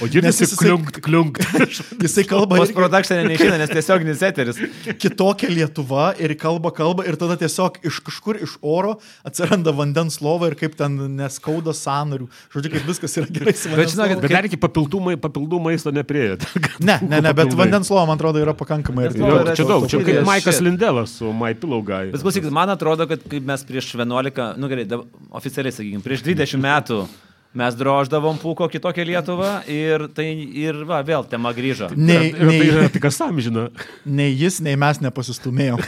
Speaker 2: O girdisi
Speaker 3: Nes jisai-
Speaker 2: kliunkt, kliunkt.
Speaker 3: Jisai kalba
Speaker 1: Post
Speaker 3: irgi-
Speaker 1: produkcinė neišina, nes tiesioginis eteris.
Speaker 3: kitokia Lietuva ir kalba, kalba ir tada tiesiog iš kažkur iš oro atsiranda vandens lova ir kaip ten neskauda sanarių. Žodžiu, kaip viskas yra gerai su
Speaker 1: Bet
Speaker 3: vandens
Speaker 1: žinokit,
Speaker 3: lova.
Speaker 2: Bet dar iki papildumai, papildų maisto neprieėjote.
Speaker 3: Ne, ne, ne, bet
Speaker 2: papildai.
Speaker 3: vandens lova, man atrodo, yra pakankamai arti.
Speaker 1: lova
Speaker 3: to-
Speaker 2: Čia daug, čia
Speaker 3: to-
Speaker 1: Yes,
Speaker 2: kaip Maikas
Speaker 1: shit.
Speaker 2: Lindelas su MyPilaugai.
Speaker 1: Bet klausykit, man atrodo, kad kaip mes prieš 11, nu gerai, dab- oficialiai sakykime, prieš 20 metų mes droždavom Puko kitokią Lietuvą ir tai ir va, vėl tema grįžo.
Speaker 3: Nei,
Speaker 2: Ir tai yra
Speaker 3: nei,
Speaker 2: tik kas amžina.
Speaker 3: nei jis, nei mes nepasistumėjom.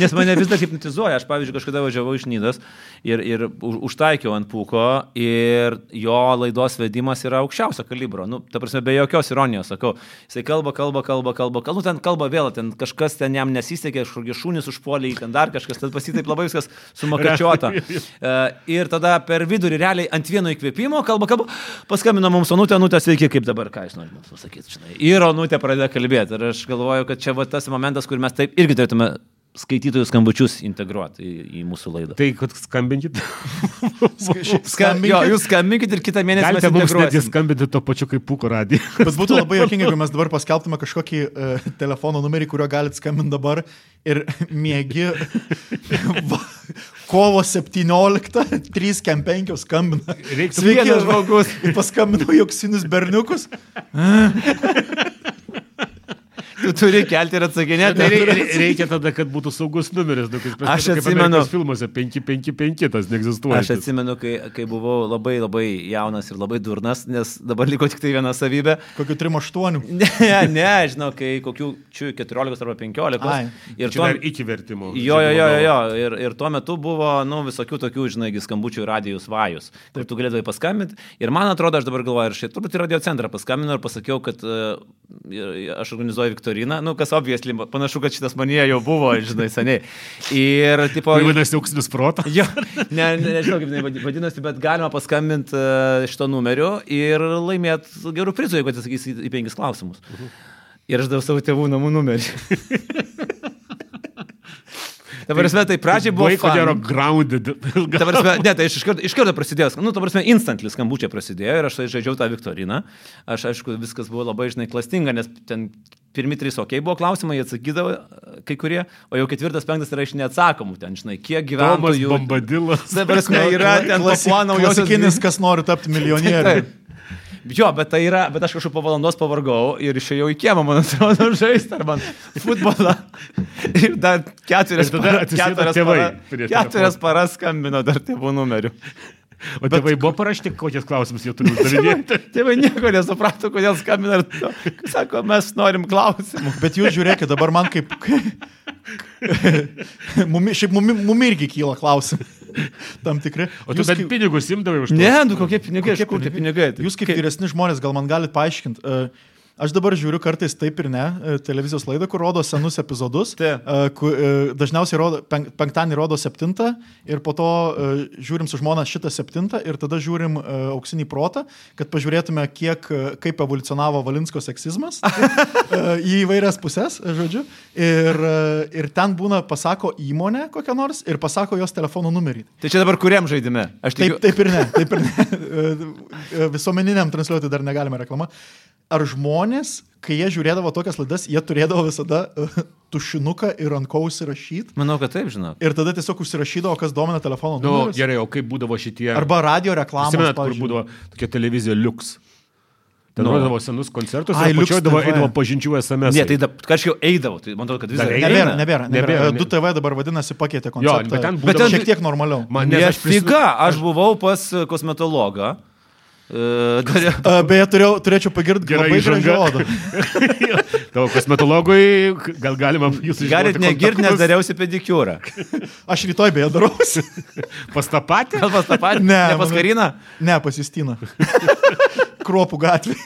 Speaker 1: Nes mane vis dar hipnotizuoja. Aš, pavyzdžiui, kažkada važiavau iš Nydos ir, ir už- užtaikiau ant pūko ir jo laidos vedimas yra aukščiausio kalibro. Nu, ta prasme, be jokios ironijos sakau. Jisai kalba, kalba, kalba, kalba, kalba. Nu, ten kalba vėl, ten kažkas ten jam nesisekė, kažkokie šunys užpuolė, jį, ten dar kažkas, tad pasitaip labai viskas sumakačiuota. E, Ir tada per vidurį realiai ant vieno įkvėpimo kalba, kalba, paskambino mums Onutė, Onutė, sveiki, kaip dabar, ką jūs norite mums pasakyti. žinai. Ir Onutė pradeda kalbėti. Ir aš galvoju, kad čia va tas momentas, kur mes taip irgi turėtume skaitytojų skambučius integruoti į, į mūsų laidą.
Speaker 2: Tai, kad skambinkit.
Speaker 1: Skambinkit. Jo, jūs skambinkit ir kitą mėnesį
Speaker 2: Galite
Speaker 1: mes
Speaker 2: mums netgi
Speaker 1: integruosim.
Speaker 2: skambinti to pačiu kaip puko radijai.
Speaker 3: Bet būtų labai jokinga, jeigu mes dabar paskelbtume kažkokį uh, telefono numerį, kuriuo galite skambinti dabar ir mėgi va, kovo 17.3.5 skambina.
Speaker 2: Reiktų
Speaker 1: vienas žmogus.
Speaker 3: Ir paskambinau joksinius berniukus.
Speaker 1: Tu turi kelti ir atsakinėti.
Speaker 2: Tai reikia, reikia tada, kad būtų saugus numeris. Nu, kaip,
Speaker 1: Aš
Speaker 2: kaip
Speaker 1: atsimenu-
Speaker 2: Amerikos Filmuose 555 tas neegzistuoja.
Speaker 1: Aš atsimenu, kai, kai buvau labai labai jaunas ir labai durnas, nes dabar liko tik tai viena savybė.
Speaker 3: Kokiu 3-8.
Speaker 1: Ne, ne, žinau, kai kokių čia 14 arba 15.
Speaker 3: Ai,
Speaker 1: ir
Speaker 2: Čia dar iki vertimo.
Speaker 1: Jo, jo,
Speaker 2: Čia
Speaker 1: jo,
Speaker 2: buvo
Speaker 1: jo,
Speaker 2: daug.
Speaker 1: jo. Ir, ir tuo metu buvo, nu, visokių tokių, žinai, gi skambučių į radijus vajus. Taip, tu galėdavai paskambinti. Ir man atrodo, aš dabar galvoju, ir šiaip turbūt į radio centrą paskambinau ir pasakiau, kad uh, aš organizuoju Viktoriną, nu, kas obviesly, panašu, kad šitas manija jau buvo, žinai, seniai. Ir, tipo,
Speaker 2: Tai vadinasi auksinis protas.
Speaker 1: Jo, ne, ne, nežinau kaip jinai vadi- vadinasi, bet galima paskambinti e, šito numeriu ir laimėti gerų prizų, jeigu atsakys į, į penkis klausimus.
Speaker 2: Mhm.
Speaker 1: Ir aš daviau savo tėvų namų numerį. Dabar esmė, tai pradžiai buvo...
Speaker 2: Vaiko
Speaker 1: fun.
Speaker 2: gero grounded. Ilga-
Speaker 1: Ta prasme, ne, tai aš iš karto, iš karto prasidėjo, sk- nu, ta prasme, instantly skambučiai prasidėjo ir aš tai žaidžiau tą Viktoriną. Aš, aišku, viskas buvo labai, žinai, klastinga, nes ten pirmi trys, okei, okay, buvo klausimai, jie atsakydavo e, kai kurie, o jau ketvirtas, penktas yra iš neatsakomų, ten, žinai, kiek
Speaker 2: Tomas
Speaker 1: gyventojų...
Speaker 2: Bombadilas.
Speaker 1: Ta prasme, yra ten Papua Naujosios
Speaker 3: Klasikinis, kas nori tapti milijonieriumi.
Speaker 1: Jo, bet tai yra, bet aš kažkaip po valandos pavargau ir išėjau į kiemą, man atrodo, žaisti arba futbolą. Ir dar keturias,
Speaker 2: Ir tada
Speaker 1: para-
Speaker 2: atsisėdo
Speaker 1: keturias,
Speaker 2: tėvai
Speaker 1: para,
Speaker 2: prie
Speaker 1: keturias paras skambino dar tėvų numeriu.
Speaker 2: O tėvai buvo parašyti, kokias klausimus jie turi uždavinėti.
Speaker 1: Tėvai nieko nesuprato, kodėl skambina. ir to. Sako, mes norim klausimų.
Speaker 3: Nu, Bet jūs žiūrėkit, dabar man kaip... mumi, šiaip mumi, mumi irgi kyla klausimai. Tam tikri.
Speaker 2: O tu
Speaker 3: Jūs
Speaker 2: bent
Speaker 3: kaip-
Speaker 2: pinigus imdavai už tai.
Speaker 1: Ne, nu kokie pinigai, iš kur tie pinigai. Tai-
Speaker 3: Jūs kaip vyresni žmonės gal man galite paaiškinti. Aš dabar žiūriu kartais taip ir ne e, televizijos laidą, kur rodo senus epizodus.
Speaker 1: Taip.
Speaker 3: e, ku- e, Dažniausiai rodo, penk- penktadienį rodo septintą ir po to e, žiūrim su žmona šitą septintą ir tada žiūrim e, auksinį protą, kad pažiūrėtume, kiek, e, kaip evoliucionavo Valinsko seksizmas e, į įvairias puses, e, žodžiu. Ir, e, ir ten būna pasako įmonę kokią nors ir pasako jos telefono numerį.
Speaker 1: Tai čia dabar kuriam žaidime? Aš
Speaker 3: Taip,
Speaker 1: tikiu.
Speaker 3: taip ir ne, taip ir ne. E, Visuomeniniam transliuoti dar negalime reklama. Ar žmonės, kai jie žiūrėdavo tokias laidas, jie turėdavo visada e, tušinuką ir ant ko užsirašyti?
Speaker 1: Manau, kad taip, žinau.
Speaker 3: Ir tada tiesiog užsirašydavo, kas domina telefono
Speaker 2: Nu,
Speaker 3: numerį.
Speaker 2: gerai, o kaip būdavo šitie.
Speaker 3: Arba radio reklamos.
Speaker 2: Prisimenat, kur
Speaker 3: pavyzdžiui.
Speaker 2: būdavo tokia televizija Lux. Ten
Speaker 1: Nu.
Speaker 2: rodavo senus koncertus,
Speaker 3: Ai,
Speaker 2: o
Speaker 3: Lux
Speaker 2: pačioj davo
Speaker 3: TV.
Speaker 2: eidavo pažinčių SMS.
Speaker 1: Ne, tai da- kažkaip eidavau, tai man atrodo, kad vis
Speaker 2: Dar
Speaker 1: dar
Speaker 2: eidavai?
Speaker 3: Nebėra,
Speaker 2: eina.
Speaker 3: nebėra.
Speaker 2: Nebėra,
Speaker 3: E, nebėra. nebėra.
Speaker 2: ne-
Speaker 3: 2TV dabar vadinasi pakeitė konceptą.
Speaker 2: bet ten
Speaker 3: bet
Speaker 2: būdavo-
Speaker 3: ten šiek tiek normaliau.
Speaker 2: Man
Speaker 1: Ne,
Speaker 2: nes
Speaker 1: aš
Speaker 2: aš prisimenu-
Speaker 1: figa, aš buvau pas kosmetologą. E, dar-
Speaker 3: E, Beje, turėjau, turėčiau pagirti
Speaker 2: Gera
Speaker 3: labai
Speaker 2: įžanga.
Speaker 3: gražią odą.
Speaker 2: Tavo kosmetologui, gal galima jūsų
Speaker 1: Galit negirti, nes dariausi pedikiūrą.
Speaker 3: Aš rytoj beje darausi.
Speaker 2: Pas tą patį?
Speaker 1: Gal pas tą patį?
Speaker 3: Ne,
Speaker 1: ne pas
Speaker 3: manau-
Speaker 1: Kariną.
Speaker 3: Ne, pasistina. Kruopų gatvė.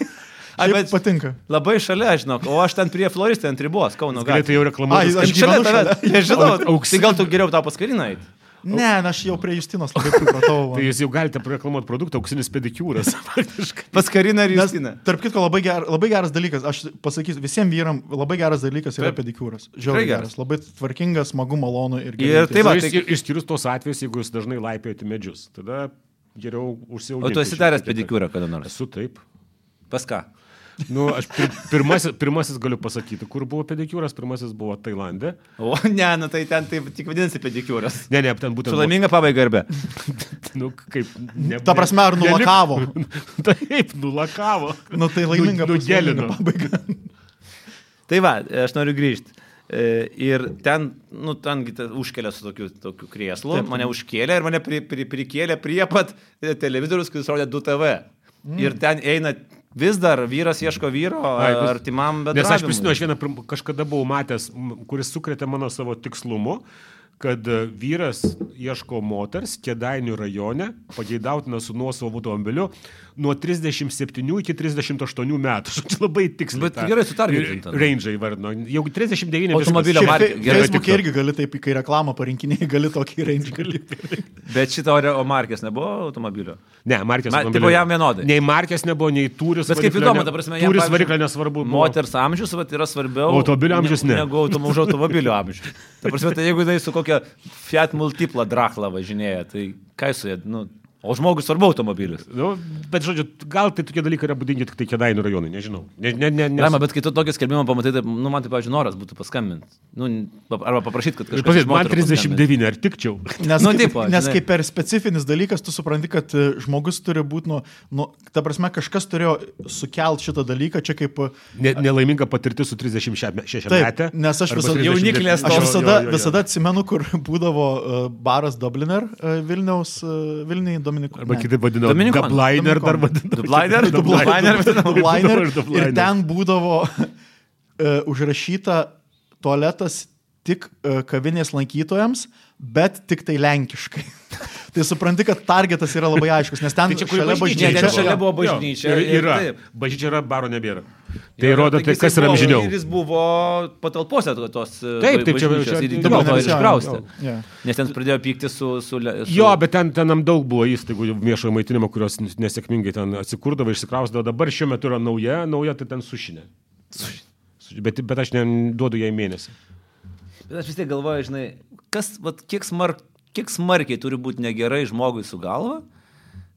Speaker 1: Ai,
Speaker 3: Ai,
Speaker 1: bet-
Speaker 3: bet patinka.
Speaker 1: Labai šalia, žinok, o aš ten prie floristė ant ribos, Kauno tai-
Speaker 2: Galėtų
Speaker 1: gatvėje.
Speaker 2: jau reklamuoti.
Speaker 3: Ai, aš gyvenu šalia.
Speaker 1: Nežinau,
Speaker 2: Auks-
Speaker 1: tai gal tu geriau tau pas Kariną eiti.
Speaker 3: Ne, na, aš jau prie Justinos labai pripratau. va.
Speaker 2: Tai jūs jau galite reklamuoti produktą auksinis pedikiūras. faktiškai.
Speaker 1: Pas Kariną ir
Speaker 3: Nes,
Speaker 1: Justiną.
Speaker 3: tarp kitko, labai, ger, labai geras dalykas, aš pasakysiu, visiems vyram labai geras dalykas yra
Speaker 1: Taip.
Speaker 3: pedikūras. Žiauriai
Speaker 1: Tikrai geras.
Speaker 3: geras, labai tvarkingas, smagu, malonu ir
Speaker 1: Ir
Speaker 3: gerai.
Speaker 1: tai va,
Speaker 2: Nu,
Speaker 1: tai-
Speaker 2: iš- Išskyrus tos atvejus, jeigu jūs dažnai laipėjate medžius, tada geriau
Speaker 1: O
Speaker 2: užsiauginti.
Speaker 1: tu esi
Speaker 2: šiek
Speaker 1: daręs
Speaker 2: tiek.
Speaker 1: pedikiūrą kada nors?
Speaker 2: Esu taip.
Speaker 1: Pas ką?
Speaker 2: Nu, aš pir- pirmasis, pirmasis galiu pasakyti, kur buvo pedikiūras, pirmasis buvo Tailandė.
Speaker 1: O ne, nu tai ten taip tik vadinasi pedikiūras.
Speaker 2: Ne, ne, ten būtent.
Speaker 1: Su laiminga pabaiga arbe.
Speaker 2: buvo- Nu, kaip, ne,
Speaker 3: Ta prasme, ar
Speaker 2: ne-
Speaker 3: nulakavo?
Speaker 2: nelik- Taip, nulakavo.
Speaker 3: Na tai laiminga
Speaker 2: Nu-
Speaker 3: bus, laiminga
Speaker 2: nugelino.
Speaker 3: pabaiga.
Speaker 1: Tai va, aš noriu grįžti. E, Ir ten, nu, tengi ta- užkelia su tokiu, tokiu krieslu, taip, mane užkėlė ir mane pri, pri, prikėlė prie pat e, televizorius, kuris rodė 2TV. Mm. Ir ten eina vis dar vyras ieško vyro,
Speaker 2: Ai,
Speaker 1: Ai,
Speaker 2: bus-
Speaker 1: artimam bet.
Speaker 2: Nes aš prisimenu, aš vieną pirm- kažkada buvau matęs, m, kuris sukretė mano savo tikslumu, kad e, vyras ieško moters Kedainių rajone, pageidautina su nuosavu automobiliu, nuo 37 iki 38 metų. Žodžiu, labai tiksliai.
Speaker 1: Bet
Speaker 2: tą
Speaker 1: gerai sutargetinta.
Speaker 2: ir- Range'ą įvardino. Jau 39
Speaker 1: Automobilio
Speaker 2: viskas.
Speaker 1: markė.
Speaker 2: Šiaip
Speaker 1: Gerai,
Speaker 2: fe-
Speaker 3: Facebook'e
Speaker 2: tiktų.
Speaker 3: irgi gali taip, kai reklamą parinkiniai, gali tokį įrenginį.
Speaker 1: Bet šito Oreo markės nebuvo automobilio.
Speaker 2: Ne, markės.
Speaker 1: Ma-
Speaker 2: automobilio-
Speaker 1: tipo jam vienodai.
Speaker 2: Nei markės nebuvo, nei turis.
Speaker 1: Bet kaip
Speaker 2: variklio
Speaker 1: įdomu,
Speaker 2: ne-
Speaker 1: ta prasme, jam,
Speaker 2: Turis
Speaker 1: pavyzdžiui,
Speaker 2: variklio nesvarbu. buvo.
Speaker 1: Moters amžius vat, yra svarbiau.
Speaker 2: Automobilio amžius ne.
Speaker 1: Negu automo, už automobilio amžių. Ta prasme, tai jeigu tai su kokia Fiat Multipla drachla važinėja, tai ką jūs su ja, nu, o žmogus svarbu automobilis.
Speaker 2: Nu, bet žodžiu, gal tai tokie dalykai yra būdingi tik tai Kedainių rajonui, nežinau. Ne, ne, ne, nes...
Speaker 1: Rama, bet kai tu tokį skelbimą pamatai, tai, nu, man tai, pavyzdžiui, noras būtų paskambinti. Nu, pa- arba paprašyti, kad kažkas...
Speaker 2: Pavyzdžiui,
Speaker 1: iš
Speaker 2: man
Speaker 1: moterų paskambintų.
Speaker 2: 39, ar tikčiau?
Speaker 3: Nes,
Speaker 1: Nu,
Speaker 3: nu, kaip,
Speaker 1: tipo,
Speaker 3: nes
Speaker 1: žinai.
Speaker 3: kaip per specifinis dalykas, tu supranti, kad e, žmogus turi būti, nu, nu, ta prasme, kažkas turėjo sukelti šitą dalyką, čia kaip... e,
Speaker 2: Ne, nelaiminga patirtis su 36
Speaker 3: Taip,
Speaker 2: metė.
Speaker 3: nes aš visada...
Speaker 1: Jauniklės
Speaker 3: Aš visada, visada atsimenu, kur būdavo e, baras Dubliner e, Vilniaus, e, Vilniai Dominikų.
Speaker 2: Arba kitaip vadinau.
Speaker 1: Dominikon.
Speaker 2: Dubliner dar vadinau.
Speaker 1: Dubliner? Dubliner?
Speaker 3: Dubliner.
Speaker 2: Dabar Dubliner.
Speaker 3: Ir ten būdavo e, užrašyta tualetas tik e, kavinės lankytojams, bet tik tai lenkiškai. tai supranti, kad targetas yra labai aiškus, nes ten
Speaker 2: Tai čia kur
Speaker 3: šalia
Speaker 2: bažnyčia
Speaker 1: Ne,
Speaker 3: bažnyčia.
Speaker 1: ten
Speaker 2: čia
Speaker 1: šalia buvo
Speaker 2: Jo,
Speaker 1: bažnyčia.
Speaker 2: ir- Yra.
Speaker 1: ir taip.
Speaker 2: Bažnyčia yra, baro nebėra. Tai rodo, tai kas yra amžiniau.
Speaker 1: Ir jis buvo patalpose to- tos.
Speaker 2: Taip, taip, čia- čia-
Speaker 1: Ir
Speaker 2: jo,
Speaker 1: dėl to ir
Speaker 3: jo,
Speaker 1: iškraustė.
Speaker 3: jo, jo.
Speaker 1: Nes ten pradėjo pykti su... su, le- su
Speaker 2: Jo, bet ten, ten nam daug buvo įstaigų viešojo maitinimo, kurios nesėkmingai ten atsikurdavo, išsikraustavo. Dabar šiuo metu yra nauja, nauja tai ten sušinė. Su- Bet, bet aš neduodu jai mėnesį.
Speaker 1: Bet aš vis tiek galvoju, žinai, kas, vat, kiek, smark, kiek smarkiai turi būti negerai žmogui su galva,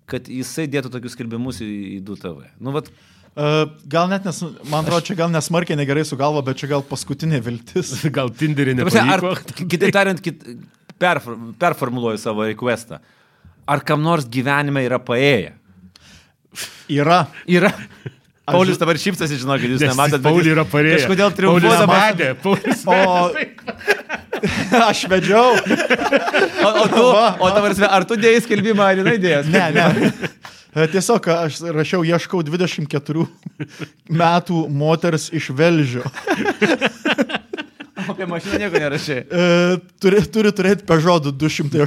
Speaker 1: kad jisai dėtų tokius skelbimus į, į 2TV. Nu, vat,
Speaker 3: E, Gal net, nes, man atrodo, čia gal nesmarkiai negerai su galva, bet čia gal paskutinė viltis.
Speaker 2: Gal Tinderį
Speaker 1: ta prasme,
Speaker 2: nepavyko.
Speaker 1: ar, kitaip tariant, kit, perfor, performuluoju savo requestą. Ar kam nors gyvenime yra paėję?
Speaker 3: Yra.
Speaker 1: Yra. Paulius dabar šypsosi, žinokit, jūs
Speaker 2: Nes
Speaker 1: nematot. bet
Speaker 2: Pauliui
Speaker 1: jis
Speaker 2: yra parėjęs.
Speaker 1: Kažkodėl
Speaker 2: Paulius
Speaker 1: triumfuodamas.
Speaker 2: matė. Paulius
Speaker 3: O aš vedžiau.
Speaker 1: O, o tu, o tavars, ar tu dėjai skelbimą, ar jinai dėjai?
Speaker 3: Ne, ne. E, Tiesiog aš rašiau, ieškau 24 metų moters iš Velžio.
Speaker 1: Apie mašiną nieko nerašė.
Speaker 3: E, Turi, turi turėti pežodų 208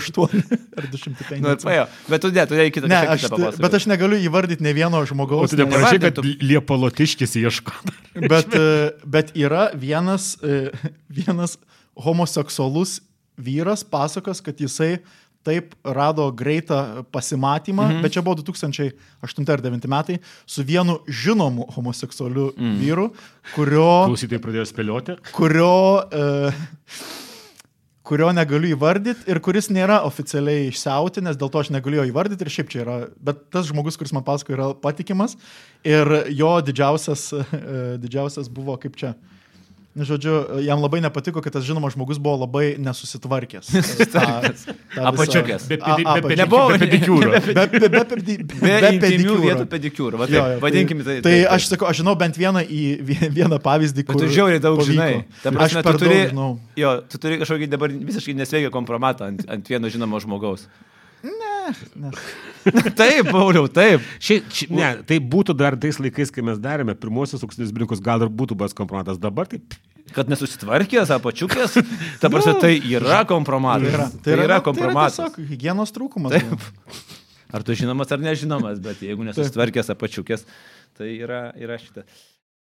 Speaker 3: ar 205.
Speaker 1: Nu, ir paėjo. Bet tu dėjai, tu dėjai kitą.
Speaker 3: ne,
Speaker 1: kažką
Speaker 3: aš,
Speaker 1: kitą
Speaker 3: t-
Speaker 1: papasakot.
Speaker 3: bet aš negaliu įvardyti ne vieno
Speaker 2: O
Speaker 3: žmogaus.
Speaker 2: tu neparašai, kad
Speaker 1: nevardintum.
Speaker 2: liepalotiškis ieško.
Speaker 3: Bet, e, bet yra vienas, e, vienas homoseksualus vyras pasakos, kad jisai taip rado greitą pasimatymą, mm -hmm. bet čia buvo 2008 ar 2009 metai, su vienu žinomu homoseksualiu mm. vyru, kurio,
Speaker 2: Klausytojai pradėjo spėlioti.
Speaker 3: kurio, e, kurio negaliu įvardyti ir kuris nėra oficialiai išsiauti, nes dėl to aš negaliu jo įvardyti ir šiaip čia yra, bet tas žmogus, kuris man pasako, yra patikimas ir jo didžiausias, e, didžiausias buvo kaip čia. Na, Žodžiu, jam labai nepatiko, kad tas žinomas žmogus buvo labai nesusitvarkęs. Nesusitvarkęs.
Speaker 1: Apačiukės.
Speaker 2: Be pedi- be pedi-
Speaker 1: Nebuvo-
Speaker 2: be pedikiūro.
Speaker 3: Be, be, be, pedi-
Speaker 1: Be, be
Speaker 3: be
Speaker 1: intymių vietų pedikiūrų. Nu,
Speaker 3: pedikiūro.
Speaker 1: Va,
Speaker 3: Jo,
Speaker 1: taip,
Speaker 3: jo,
Speaker 1: vadinkim tai.
Speaker 3: Tai aš sakau, aš žinau bent vieną, į, vie- vieną pavyzdį, kur...
Speaker 1: Bet tu žiauriai daug
Speaker 3: pavyko.
Speaker 1: žinai. Ta prasme,
Speaker 3: aš per
Speaker 1: tu turi,
Speaker 3: daug žinau.
Speaker 1: Jo, tu turi kažkokį dabar visiškai nesveiką kompromatą ant, ant vieno žinomo žmogaus. Ne. ne. taip, Pauliau, taip.
Speaker 2: Šia, ši, ne, tai būtų dar tais laikais, kai mes darėme pirmosius auksinius brinkus, gal ir būtų buvęs kompromatas. Dabar tai
Speaker 1: Kad nesusitvarkęs, apačiukės. Ta prasme, tai yra kompromatas.
Speaker 3: Nu,
Speaker 1: tai
Speaker 3: Tai yra,
Speaker 1: yra,
Speaker 3: na,
Speaker 1: kompromatas.
Speaker 3: Tai yra tiesiog hygienos trūkumas. buvo.
Speaker 1: Ar tu žinomas ar nežinomas, bet jeigu nesusitvarkęs apačiukės, tai yra, yra šitą.